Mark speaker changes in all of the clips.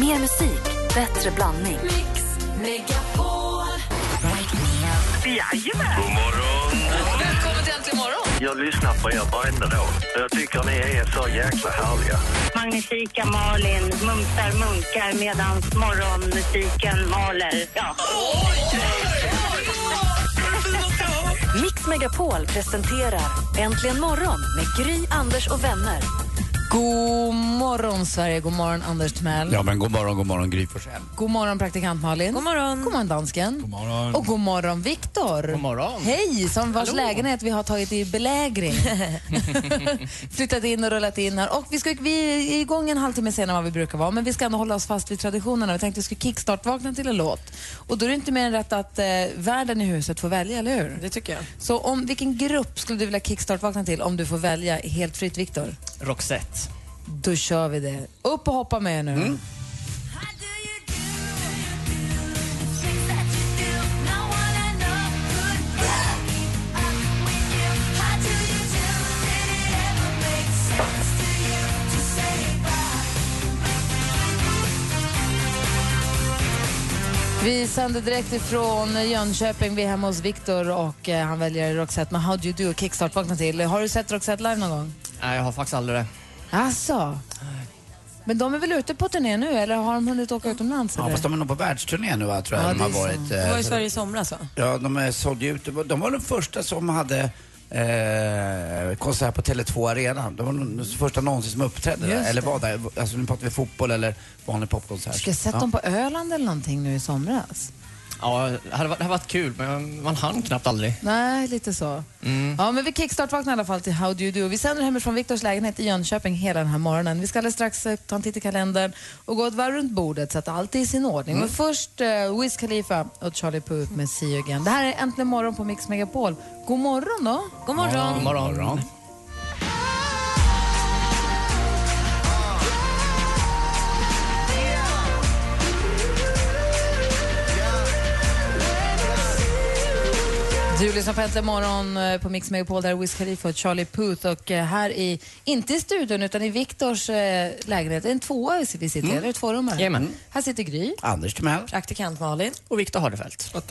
Speaker 1: Mer musik, bättre blandning.
Speaker 2: Mix Megapol.
Speaker 3: God morgon!
Speaker 2: Välkommen till Äntligen morgon.
Speaker 3: Jag lyssnar på er varenda dag. Jag tycker ni är så jäkla härliga.
Speaker 4: Magnifika Malin mumsar munkar medan morgonmusiken maler. Ja.
Speaker 1: Mix Megapol presenterar Äntligen morgon med Gry, Anders och vänner.
Speaker 5: God morgon, Sverige. God morgon, Anders Timell.
Speaker 6: Ja, men god morgon, god morgon, Gry Forssell.
Speaker 5: God morgon, praktikant Malin. God morgon. God morgon, dansken. God morgon. Och god morgon, Viktor. God morgon. Hej, som vars lägenhet vi har tagit i belägring. Flyttat in och rullat in här. Och vi, ska, vi är igång en halvtimme senare än vad vi brukar vara, men vi ska ändå hålla oss fast vid traditionerna. Vi tänkte vi skulle kickstart-vakna till en låt. Och då är det inte mer än rätt att eh, världen i huset får välja, eller hur?
Speaker 7: Det tycker jag.
Speaker 5: Så om, vilken grupp skulle du vilja kickstart-vakna till om du får välja helt fritt, Viktor?
Speaker 7: Roxette.
Speaker 5: Då kör vi det. Upp och hoppa med nu. Vi sänder direkt ifrån Jönköping. Vi är hemma hos Viktor och eh, han väljer Roxette med How Do You Do och Kickstart vaknar till. Har du sett Roxette live någon gång?
Speaker 7: Nej, jag har faktiskt aldrig det.
Speaker 5: Alltså. Men de är väl ute på turné nu eller har de hunnit åka utomlands?
Speaker 6: Ja,
Speaker 5: eller?
Speaker 6: fast de är nog på världsturné nu va, tror
Speaker 5: Ja,
Speaker 6: jag. de
Speaker 5: det
Speaker 6: har
Speaker 5: är så.
Speaker 6: varit,
Speaker 7: Det var i
Speaker 6: eh,
Speaker 7: Sverige i somras va?
Speaker 6: ja, de är sålde ut. Det var- De var de första som hade eh, konsert på Tele2 Arena. De var de första någonsin som uppträdde där.
Speaker 5: Just
Speaker 6: Eller
Speaker 5: det.
Speaker 6: var där. Alltså nu pratar vi fotboll eller vanlig popkonsert.
Speaker 5: Ska jag sett
Speaker 6: ja.
Speaker 5: dem på Öland eller någonting nu i somras?
Speaker 7: Ja, det hade varit, det hade varit kul men man hann knappt aldrig.
Speaker 5: Nej, lite så. Ja, men vi kickstart-vaknar i alla fall till How Do You Do. Vi sänder hemifrån Viktors lägenhet i Jönköping hela den här morgonen. Vi ska alldeles strax eh, ta en titt i kalendern och gå ett varv runt bordet så att allt är i sin ordning. Men först eh, Wiz Khalifa och Charlie Puth med See You Again. Det här är Äntligen morgon på Mix Megapol. God morgon då. God
Speaker 7: God morgon.
Speaker 5: Du lyssnar på Äntligen morgon eh, på Mix Megapol. Där är Wiz Khalifa och Charlie Puth. Och eh, här i, inte i studion, utan i Viktors eh, lägenhet. En tvåa vi sitter i, eller? Ett tvårummare.
Speaker 7: Jajamän.
Speaker 5: Här sitter Gry.
Speaker 6: Anders Timell.
Speaker 7: Praktikant Malin. Och Viktor Hardefelt.
Speaker 5: Och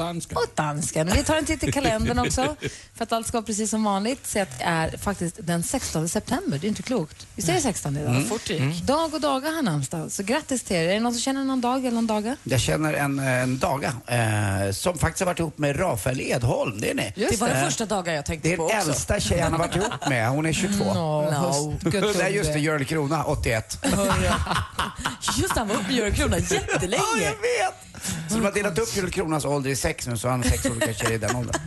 Speaker 5: dansken. Vi tar en titt i kalendern också. För att allt ska vara precis som vanligt. Så att det är faktiskt den 16 september. Det är inte klokt. Visst är det 16 idag? Mm. Fort Dag och dagar har namnsdag. Så grattis till er. Är det någon som känner någon dag eller någon daga?
Speaker 6: Jag känner en, en daga eh, som faktiskt har varit ihop med Rafael Edholm. Det är ni.
Speaker 5: Just
Speaker 8: Det var
Speaker 6: Eh,
Speaker 8: den första dagen jag tänkte
Speaker 6: Det är
Speaker 8: på
Speaker 6: den
Speaker 8: också.
Speaker 6: äldsta tjej han har varit ihop med. Hon är 22.
Speaker 5: No, no. guttunge.
Speaker 6: Nej, just det. Görel Krona, 81.
Speaker 8: Just det, han var uppe i Görekrona
Speaker 6: Ja, jag
Speaker 8: jättelänge.
Speaker 6: vet! Så de har delat upp Julle Kronas ålder i sex nu, så han har sex olika tjejer i den åldern.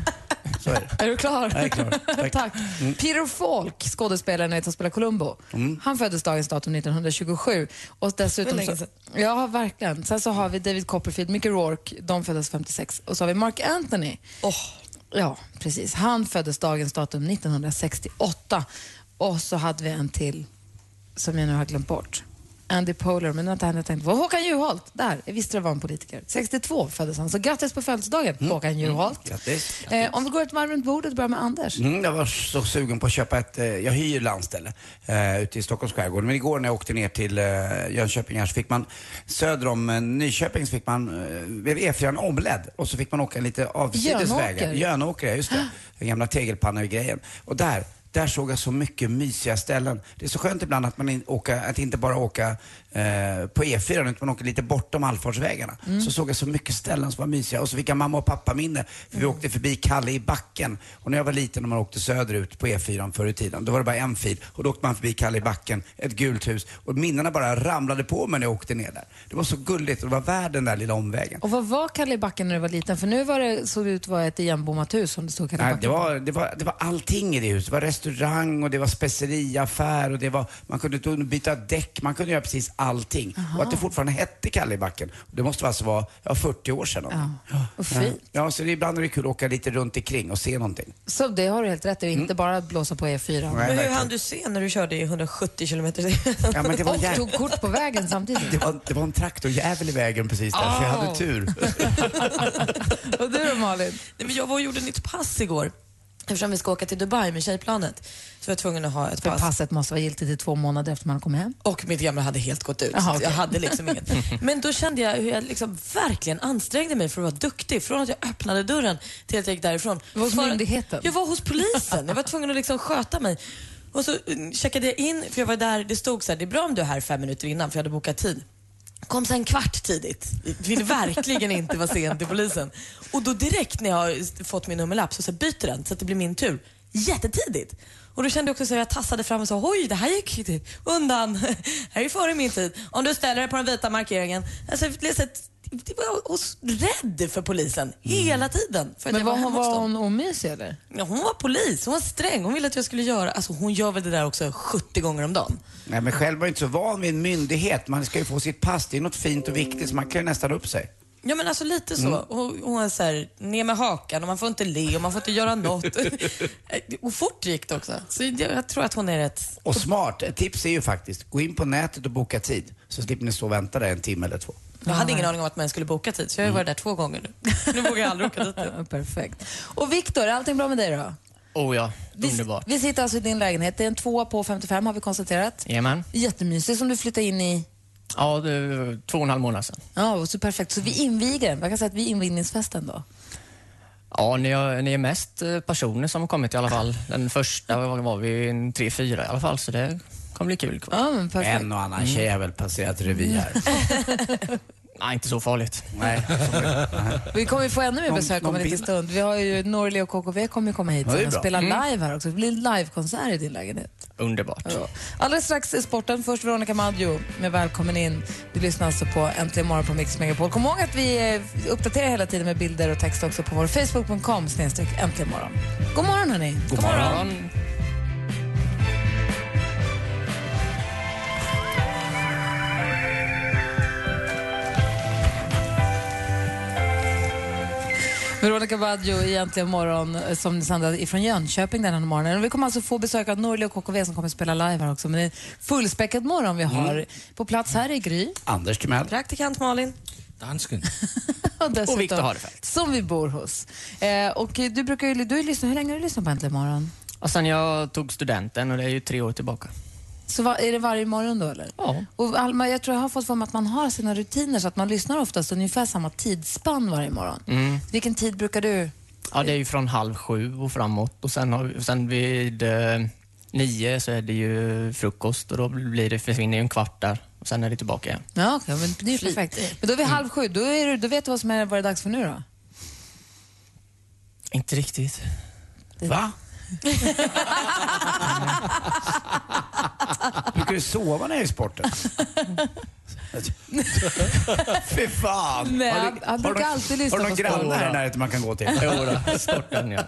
Speaker 6: Så är det.
Speaker 5: Är du klar?
Speaker 6: Jag är klar. Tack. Mm.
Speaker 5: Tack. Peter Falk, skådespelaren vet, som spelar Columbo, han föddes dagens datum 1927. Och dessutom
Speaker 8: Det var
Speaker 5: så,
Speaker 8: länge
Speaker 5: ja, verkligen. Sen så har vi David Copperfield, Mickey Rourke, de föddes 56. Och så har vi Mark Anthony. Ja, precis. Han föddes dagens datum 1968. Och så hade vi en till som jag nu har glömt bort. Andy Poehler, men det var inte han jag tänkte på. Håkan Juholt, där. Jag visste det var en politiker. 62 föddes han, så grattis på födelsedagen, Håkan Juholt.
Speaker 6: Mm. Grattis.
Speaker 5: Eh, om vi går ett varv runt bordet och börjar med Anders.
Speaker 6: Mm, jag var så sugen på att köpa ett, eh, jag hyr landställe eh, ute i Stockholms skärgård. Men igår när jag åkte ner till eh, Jönköping här så fick man söder om eh, Nyköping så fick man, eh, blev E4 omledd och så fick man åka lite avsides
Speaker 5: Jönåker.
Speaker 6: vägar. Jönåker, ja, just det. Den gamla tegelpannan-grejen. Och där, där såg jag så mycket mysiga ställen. Det är så skönt ibland att, man in, åka, att inte bara åka eh, på E4 utan man åker lite bortom allfarvägarna. Så såg jag så mycket ställen som var mysiga och så fick jag mamma och pappa minne för vi åkte förbi Kalle i backen. Och när jag var liten och man åkte söderut på E4 förr i tiden, då var det bara en fil och då åkte man förbi Kalle i backen, ett gult hus och minnena bara ramlade på mig när jag åkte ner där. Det var så gulligt och det var värd den där lilla omvägen.
Speaker 5: Och vad var Kalle i backen när du var liten? För nu var det, såg det ut att vara ett igenbommat hus som det stod Kalle i
Speaker 6: Nej, det,
Speaker 5: backen på.
Speaker 6: var, det, var, det var allting i det huset. Det var restaurang och det var speceriaffär och det var, man kunde t- byta däck, man kunde göra precis allting. Och att det fortfarande hette Kallebacken, det måste alltså vara ja, 40 år sedan.
Speaker 5: Ja, och fint.
Speaker 6: Ja, så det, ibland är det kul att åka lite runt omkring och se någonting.
Speaker 5: Så det har du helt rätt i, inte bara att blåsa på E E4.
Speaker 6: Mm. Nej,
Speaker 8: Men hur
Speaker 6: verkligen.
Speaker 8: hann du se när du körde i 170 kilometer
Speaker 6: ja, men det, var en
Speaker 5: Och
Speaker 6: jä...
Speaker 5: tog kort på vägen samtidigt.
Speaker 6: det, var, det var en traktorjävel i vägen precis där, så jag
Speaker 5: Oh.
Speaker 6: hade tur.
Speaker 5: Och du då Malin?
Speaker 8: Nej, men jag var och gjorde nytt pass igår. Eftersom vi ska åka till Dubai med tjejplanet så var jag tvungen att ha ett
Speaker 5: För
Speaker 8: pass.
Speaker 5: passet måste vara giltigt i två månader efter man kommer hem.
Speaker 8: Och mitt gamla hade helt gått ut.
Speaker 5: Jaha,
Speaker 8: så att Jag
Speaker 5: okej.
Speaker 8: hade liksom inget. Men då kände jag hur jag liksom verkligen ansträngde mig för att vara duktig. Från att jag öppnade dörren till att jag gick därifrån.
Speaker 5: var hos
Speaker 8: För-
Speaker 5: myndigheten?
Speaker 8: Jag var hos polisen. Jag var tvungen att liksom sköta mig. Och så mm, checkade jag in, för jag var där, det stod så här, det är bra om du är här fem minuter innan för jag hade bokat tid. Kom sen kvart tidigt. Vill verkligen inte vara sen till polisen. Och då direkt när jag har fått min nummerlapp så, så byter den så att det blir min tur. Jättetidigt. Och då kände jag också så att jag tassade fram och sa oj det här gick ju undan. här är före min tid. Om du ställer dig på den vita markeringen. Alltså, jag blev så att- jag var os- rädd för polisen hela tiden. För att
Speaker 5: Men
Speaker 8: jag
Speaker 5: var
Speaker 8: hemma
Speaker 5: hon,
Speaker 8: hos
Speaker 5: var
Speaker 8: dem.
Speaker 5: hon omysig eller?
Speaker 8: Ja, hon var polis, hon var sträng. Hon ville att jag skulle göra, alltså hon gör väl det där också 70 gånger om dagen.
Speaker 6: Nej, men själv var jag inte så van vid en myndighet. Man ska ju få sitt pass. Det är något fint och viktigt, så man klär nästan upp sig.
Speaker 8: Ja men alltså lite så.
Speaker 5: Mm.
Speaker 8: Och hon är såhär, ner med hakan och man får inte le och man får inte göra något. och fort gick det också. Så jag, jag tror att hon är rätt...
Speaker 6: Och smart, ett tips är ju faktiskt, gå in på nätet och boka tid. Så slipper ni stå och vänta där en timme eller två.
Speaker 8: Jag hade ingen aning om att man skulle boka tid så jag har ju
Speaker 5: Mm.
Speaker 8: varit där två gånger nu. Nu vågar jag aldrig åka dit igen.
Speaker 5: Ja, typ. perfekt. Och Viktor, är allting bra med dig då?
Speaker 7: Oh ja,
Speaker 5: Vi,
Speaker 7: underbart.
Speaker 5: vi sitter alltså i din lägenhet. Det är en tvåa på 55 har vi konstaterat.
Speaker 7: Jajamän.
Speaker 5: Jättemysig som du flyttade in i.
Speaker 7: Ja, det är två och en halv månad sedan.
Speaker 5: Ja, och så perfekt. Så vi inviger den. Jag kan säga att vi är invigningsfesten då.
Speaker 7: Ja, ni är, ni är mest eh, personer som har kommit i alla fall. Den första var- var vi en tre, fyra i alla fall, så det kommer bli kul.
Speaker 5: Ja, men perfekt. Mm.
Speaker 6: En och annan tjej har väl passerat revy här.
Speaker 7: Nej, inte så farligt.
Speaker 6: Nej.
Speaker 5: Vi kommer ju få ännu mer
Speaker 6: Någon-
Speaker 5: besök om en
Speaker 6: någon
Speaker 5: liten
Speaker 6: bild?
Speaker 5: stund. Vi har ju Norli och KKV kommer ju komma hit
Speaker 6: Ja, det är
Speaker 5: sen och
Speaker 6: bra. Mm.
Speaker 5: spela live här också. Det blir en livekonsert i din lägenhet.
Speaker 7: Underbart.
Speaker 5: Ja. Alldeles strax är sporten. Först Veronica Maggio med Välkommen in. Du lyssnar alltså på Äntligen morgon på Mix Megapol. Kom ihåg att vi eh, uppdaterar hela tiden med bilder och text också på vår Facebook.com snedstreck Äntligen morgon. God morgon hörni.
Speaker 7: God morgon.
Speaker 5: Veronica Baggio i Äntligen morgon eh, som sänder ifrån Jönköping den här morgonen. Vi kommer alltså få besök av Norli och KKV som kommer spela live här också. Men det är en fullspäckad morgon vi har.
Speaker 6: Mm.
Speaker 5: På plats här i Gry.
Speaker 6: Anders Timell.
Speaker 8: Praktikant Malin.
Speaker 9: Dansken.
Speaker 5: Och, dessutom,
Speaker 7: Och Victor Harfeldt.
Speaker 5: Som vi bor hos. Eh, och eh, du brukar ju, du har ju lyssnat, hur länge har du lyssnat på Äntligen morgon?
Speaker 7: Och sen jag tog studenten och det är ju tre år tillbaka.
Speaker 5: Så va, är det varje morgon då eller?
Speaker 7: Ja.
Speaker 5: Och Alma, jag tror jag har fått för mig att man har sina rutiner så att man lyssnar oftast ungefär samma tidsspann varje morgon. Vilken tid brukar du?
Speaker 7: Ja, det är ju från halv sju och framåt och sen, har, vi- sen vid eh, nio så är det ju frukost och då blir det, försvinner ju en kvart där och sen är det tillbaka igen.
Speaker 5: Ja, okej, men det är ju perfekt. Men då är vi halv sju, då, är du, då vet du vad som är, vad det är dags för nu då?
Speaker 7: Inte riktigt.
Speaker 6: Va? Brukar du sova när du är i sporten? Fy fan!
Speaker 5: Nej,
Speaker 6: har
Speaker 5: han-
Speaker 6: du,
Speaker 5: han
Speaker 6: har du,
Speaker 5: brukar alltid lyssna
Speaker 6: har du någon
Speaker 5: på sporten.
Speaker 6: granne här i närheten man kan gå till?
Speaker 7: Jo då, sporten ja.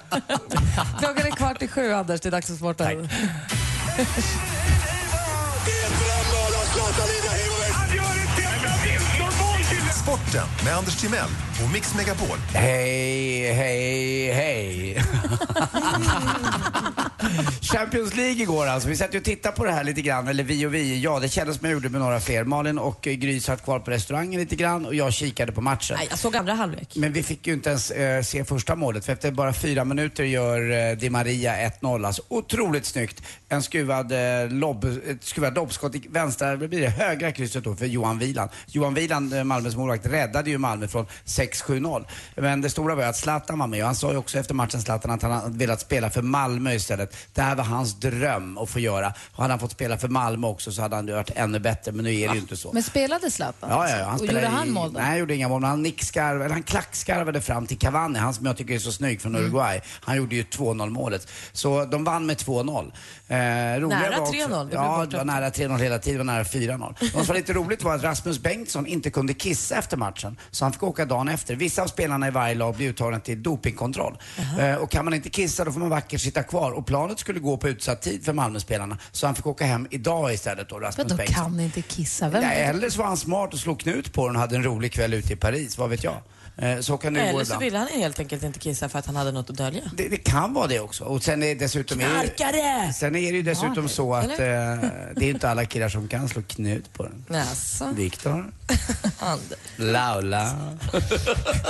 Speaker 5: Klockan är kvart i sju, Anders. Det är dags för sporten.
Speaker 10: Sporten med Anders Timell och Mix Megapol.
Speaker 6: Hej, hej, hej. Champions League igår alltså. Vi satt ju och tittade på det här lite grann, eller vi och vi. Ja, det kändes som jag gjorde med några fler. Malin och eh, Gry satt kvar på restaurangen lite grann och jag kikade på matchen.
Speaker 8: Nej, jag såg andra halvlek.
Speaker 6: Men vi fick ju inte ens eh, se första målet för efter bara fyra minuter gör eh, Di Maria 1-0. Alltså, otroligt snyggt. En skruvad, eh, lobb, ett skruvad lobbskott i vänstra, vad blir det högra krysset då för Johan Wieland. Johan Wieland, eh, Malmös målvakt, räddade ju Malmö från 6-7-0. Men det stora var ju att Zlatan var med och han sa ju också efter matchen Zlatan att han hade velat spela för Malmö istället. Det här var hans dröm att få göra. Och hade han fått spela för Malmö också så hade han ju varit ännu bättre men nu är det ju inte så.
Speaker 5: Men spelade Zlatan?
Speaker 6: Ja, ja, ja.
Speaker 5: alltså. och
Speaker 6: spelar
Speaker 5: gjorde
Speaker 6: i-
Speaker 5: han mål då?
Speaker 6: Nej, han gjorde inga mål, men han nickskarvade, eller han klackskarvade fram till Cavani, han som jag tycker är så snygg
Speaker 5: Mm.
Speaker 6: från Uruguay. Han gjorde ju 2-0 målet. Så de vann med 2-0. Eh, nära
Speaker 8: Nära 3-0, det blev
Speaker 6: Ja,
Speaker 8: bortdömt.
Speaker 6: det var nära 3-0 hela tiden, det var nära 4-0. Något som var lite roligt var att Rasmus Bengtsson inte kunde kissa efter matchen, så han fick åka dagen efter. Vissa av spelarna i varje lag blir uttagna till dopingkontroll. Eh, och kan man inte kissa då får man vackert sitta kvar. Och planet skulle gå på utsatt tid för Malmöspelarna, så han fick åka hem idag istället då, Rasmus
Speaker 5: Vadå,
Speaker 6: Bengtsson.
Speaker 5: kan inte kissa? Vem?
Speaker 6: Nej, eller så var han smart och slog knut på den och hade en rolig kväll ute i Paris, vad vet jag. Eh, Så kan det ju gå
Speaker 8: Eller så
Speaker 6: ibland.
Speaker 8: ville han helt enkelt inte kissa för att han hade något att dölja.
Speaker 6: Det, det kan vara det också. Och sen är dessutom... är-
Speaker 8: Knarkare!
Speaker 6: Sen är är det ju dessutom så att eh, det är inte alla killar som kan slå knut på den.
Speaker 8: Jaså?
Speaker 6: Viktor, Laula.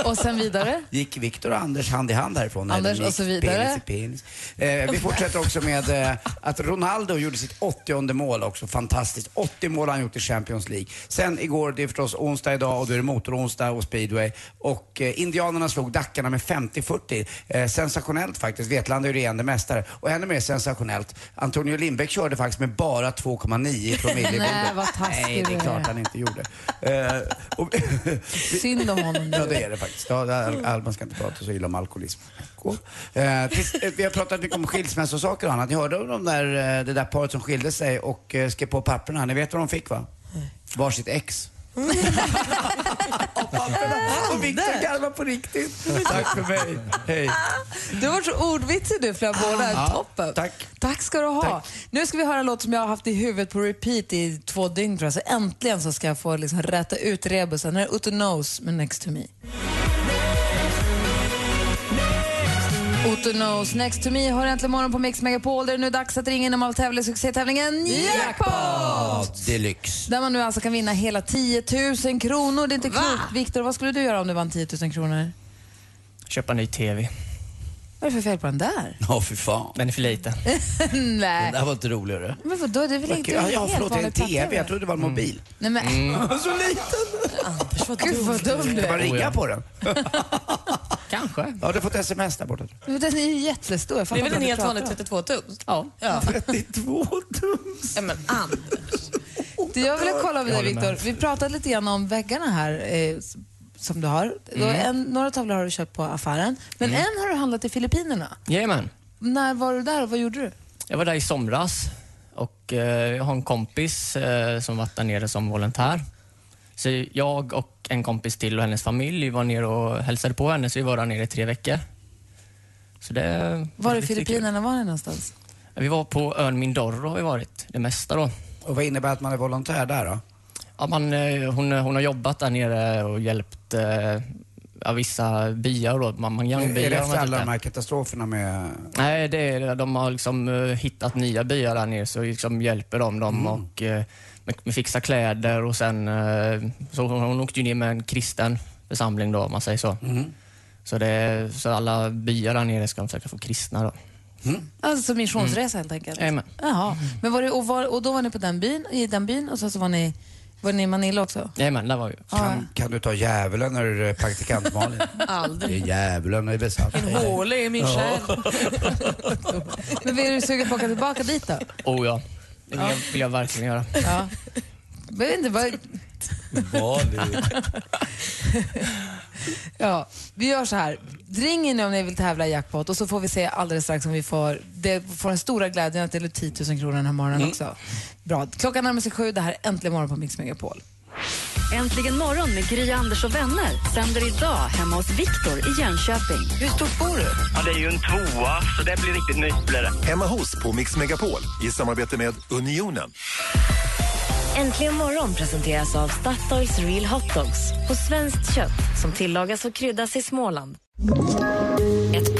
Speaker 5: Och sen vidare.
Speaker 6: Gick Viktor och Anders hand i hand härifrån?
Speaker 5: Anders
Speaker 6: Eller
Speaker 5: och
Speaker 6: gick
Speaker 5: så vidare.
Speaker 6: Penis i penis. Eh, vi fortsätter också med eh, att Ronaldo gjorde sitt 80 mål också. Fantastiskt. 80 mål har han gjort i Champions League. Sen igår, det är förstås onsdag idag och då är det motoronsdag och speedway. Och eh, indianerna slog dackarna med 50-40. Eh, sensationellt faktiskt. Vetlanda är ju regerande mästare. Och ännu mer sensationellt, Antonio Lindbäck körde faktiskt med bara 2,9 i promille
Speaker 5: Nej,
Speaker 6: i blodet.
Speaker 5: vad taskig
Speaker 6: Nej, det
Speaker 5: du
Speaker 6: är
Speaker 5: är.
Speaker 6: klart han inte gjorde. Eh, och,
Speaker 5: Synd om honom.
Speaker 6: Ja, det är det faktiskt. Ja, det
Speaker 5: Mm.
Speaker 6: är- all- man ska inte prata så illa om alkoholism. Cool. Eh, tills, eh, vi har pratat mycket om skilsmässosaker och annat. Ni hörde om de där, eh, det där paret som skilde sig och eh, skrev på papperna. Ni vet vad de fick va? Varsitt ex. och papperna. Och Viktor garvar på riktigt. Tack för mig. Hej.
Speaker 5: Du har varit så ordvitsig du flera månader.
Speaker 6: Ja,
Speaker 5: Toppen.
Speaker 6: tack.
Speaker 5: Tack ska du ha.
Speaker 6: Tack.
Speaker 5: Nu ska vi höra en låt som jag har haft i huvudet på repeat i två dygn tror jag. Så äntligen så ska jag få liksom räta ut rebusen. Här är Otto Knows med Next to me. Otto Knows Next to me har äntligen morgon på Mix Megapol. Det är nu dags att ringa in om att tävla i succétävlingen Jackpot!
Speaker 6: Deluxe.
Speaker 5: Där man nu alltså kan vinna hela 10 000 kronor. Det är inte klokt. Viktor, vad skulle du göra om du vann 10 000 kronor?
Speaker 7: Köpa ny TV.
Speaker 5: Vad är det för fel på den där?
Speaker 6: Ja, fy fan.
Speaker 7: Den är för liten.
Speaker 5: Nej.
Speaker 6: Det här var inte roligare.
Speaker 5: Men vadå, det är väl inte
Speaker 6: Ja, ja,
Speaker 5: helt
Speaker 6: förlåt. Är det
Speaker 5: vanlig
Speaker 6: TV? Jag
Speaker 5: platt-tv?
Speaker 6: trodde det var en mobil.
Speaker 5: Nej men,
Speaker 6: Mm. Så liten.
Speaker 5: gud vad dum du
Speaker 6: Det
Speaker 5: är.
Speaker 6: var ringa på den.
Speaker 7: Kanske.
Speaker 6: Ja, du har fått sms där borta.
Speaker 5: Men Den är ju jättestor. Jag
Speaker 8: Det
Speaker 5: fattar
Speaker 8: är väl en
Speaker 5: inte
Speaker 8: helt
Speaker 5: vad du
Speaker 8: vanlig
Speaker 5: pratar
Speaker 8: 32-tums?
Speaker 7: Ja.
Speaker 8: Ja.
Speaker 6: 32 tum.
Speaker 8: ja, men Anders.
Speaker 5: om. Jag vill kolla med dig
Speaker 7: håller med.
Speaker 5: Viktor. Vi pratade lite grann om väggarna här eh, s- som du har. Du har En, några tavlor har du köpt på affären, men en har du handlat i Filippinerna.
Speaker 7: Jajamän.
Speaker 5: När var du där och vad gjorde du?
Speaker 7: Jag var där i somras och eh, jag har en kompis eh, som varit där nere som volontär. Så jag och en kompis till och hennes familj var nere och hälsade på henne, så vi var där nere i tre veckor. Så det,
Speaker 5: Var i
Speaker 7: riktigt kul.
Speaker 5: Filippinerna var ni någonstans?
Speaker 7: Vi var på ön Mindoro har vi varit, det mesta då.
Speaker 6: Och vad innebär att man är volontär där då?
Speaker 7: Ja, man, eh, hon, hon har jobbat där nere och hjälpt eh, ja, vissa byar då, man
Speaker 6: Är det
Speaker 7: Young-byar. om
Speaker 6: efter
Speaker 7: jag inte
Speaker 6: alla de
Speaker 7: tar-
Speaker 6: här katastroferna med...
Speaker 7: Nej, det är, de har liksom eh, hittat nya byar där nere, så liksom hjälper de dem
Speaker 6: Mm.
Speaker 7: och eh, med, med fixa kläder och sen... eh, så hon, hon åkte ju ner med en kristen församling då, om man säger så.
Speaker 6: Mm.
Speaker 7: Så, det, så alla byar där nere ska de försöka få kristna då.
Speaker 5: Alltså missionsresa helt enkelt?
Speaker 7: Jajamän.
Speaker 5: Jaha. Men var det, och, var, och då var ni på den byn, i den byn och sen så var ni, var ni i Manila också?
Speaker 7: Jajamän, där var vi.
Speaker 6: Kan, kan du ta djävulen ur eh, praktikant Malin? Aldrig. Det är djävulen är besatt.
Speaker 8: Håle i min själ.
Speaker 5: Men är du sugen på att åka tillbaka dit då?
Speaker 7: Oh ja, det vill jag, vill jag verkligen göra.
Speaker 5: Ja. Jag vet inte, vad... ja, vi gör så här. Ring in om ni vill tävla i jackpot och så får vi se alldeles strax om vi får, det får den stora glädjen att dela ut 10 000 kronor den här morgonen också. Bra. Klockan närmar sig sju. Det här är Äntligen morgon på Mix Megapol.
Speaker 1: Äntligen morgon med Gry, Anders och vänner sänder idag hemma hos Viktor i Jönköping.
Speaker 5: Hur stort bor du?
Speaker 3: Ja, det är ju en tvåa, så det blir riktigt nytt blir det.
Speaker 10: Hemma hos på Mix Megapol i samarbete med Unionen.
Speaker 1: Äntligen morgon presenteras av Statoils Real Hot Dogs på svenskt kött som tillagas och kryddas i Småland. Ett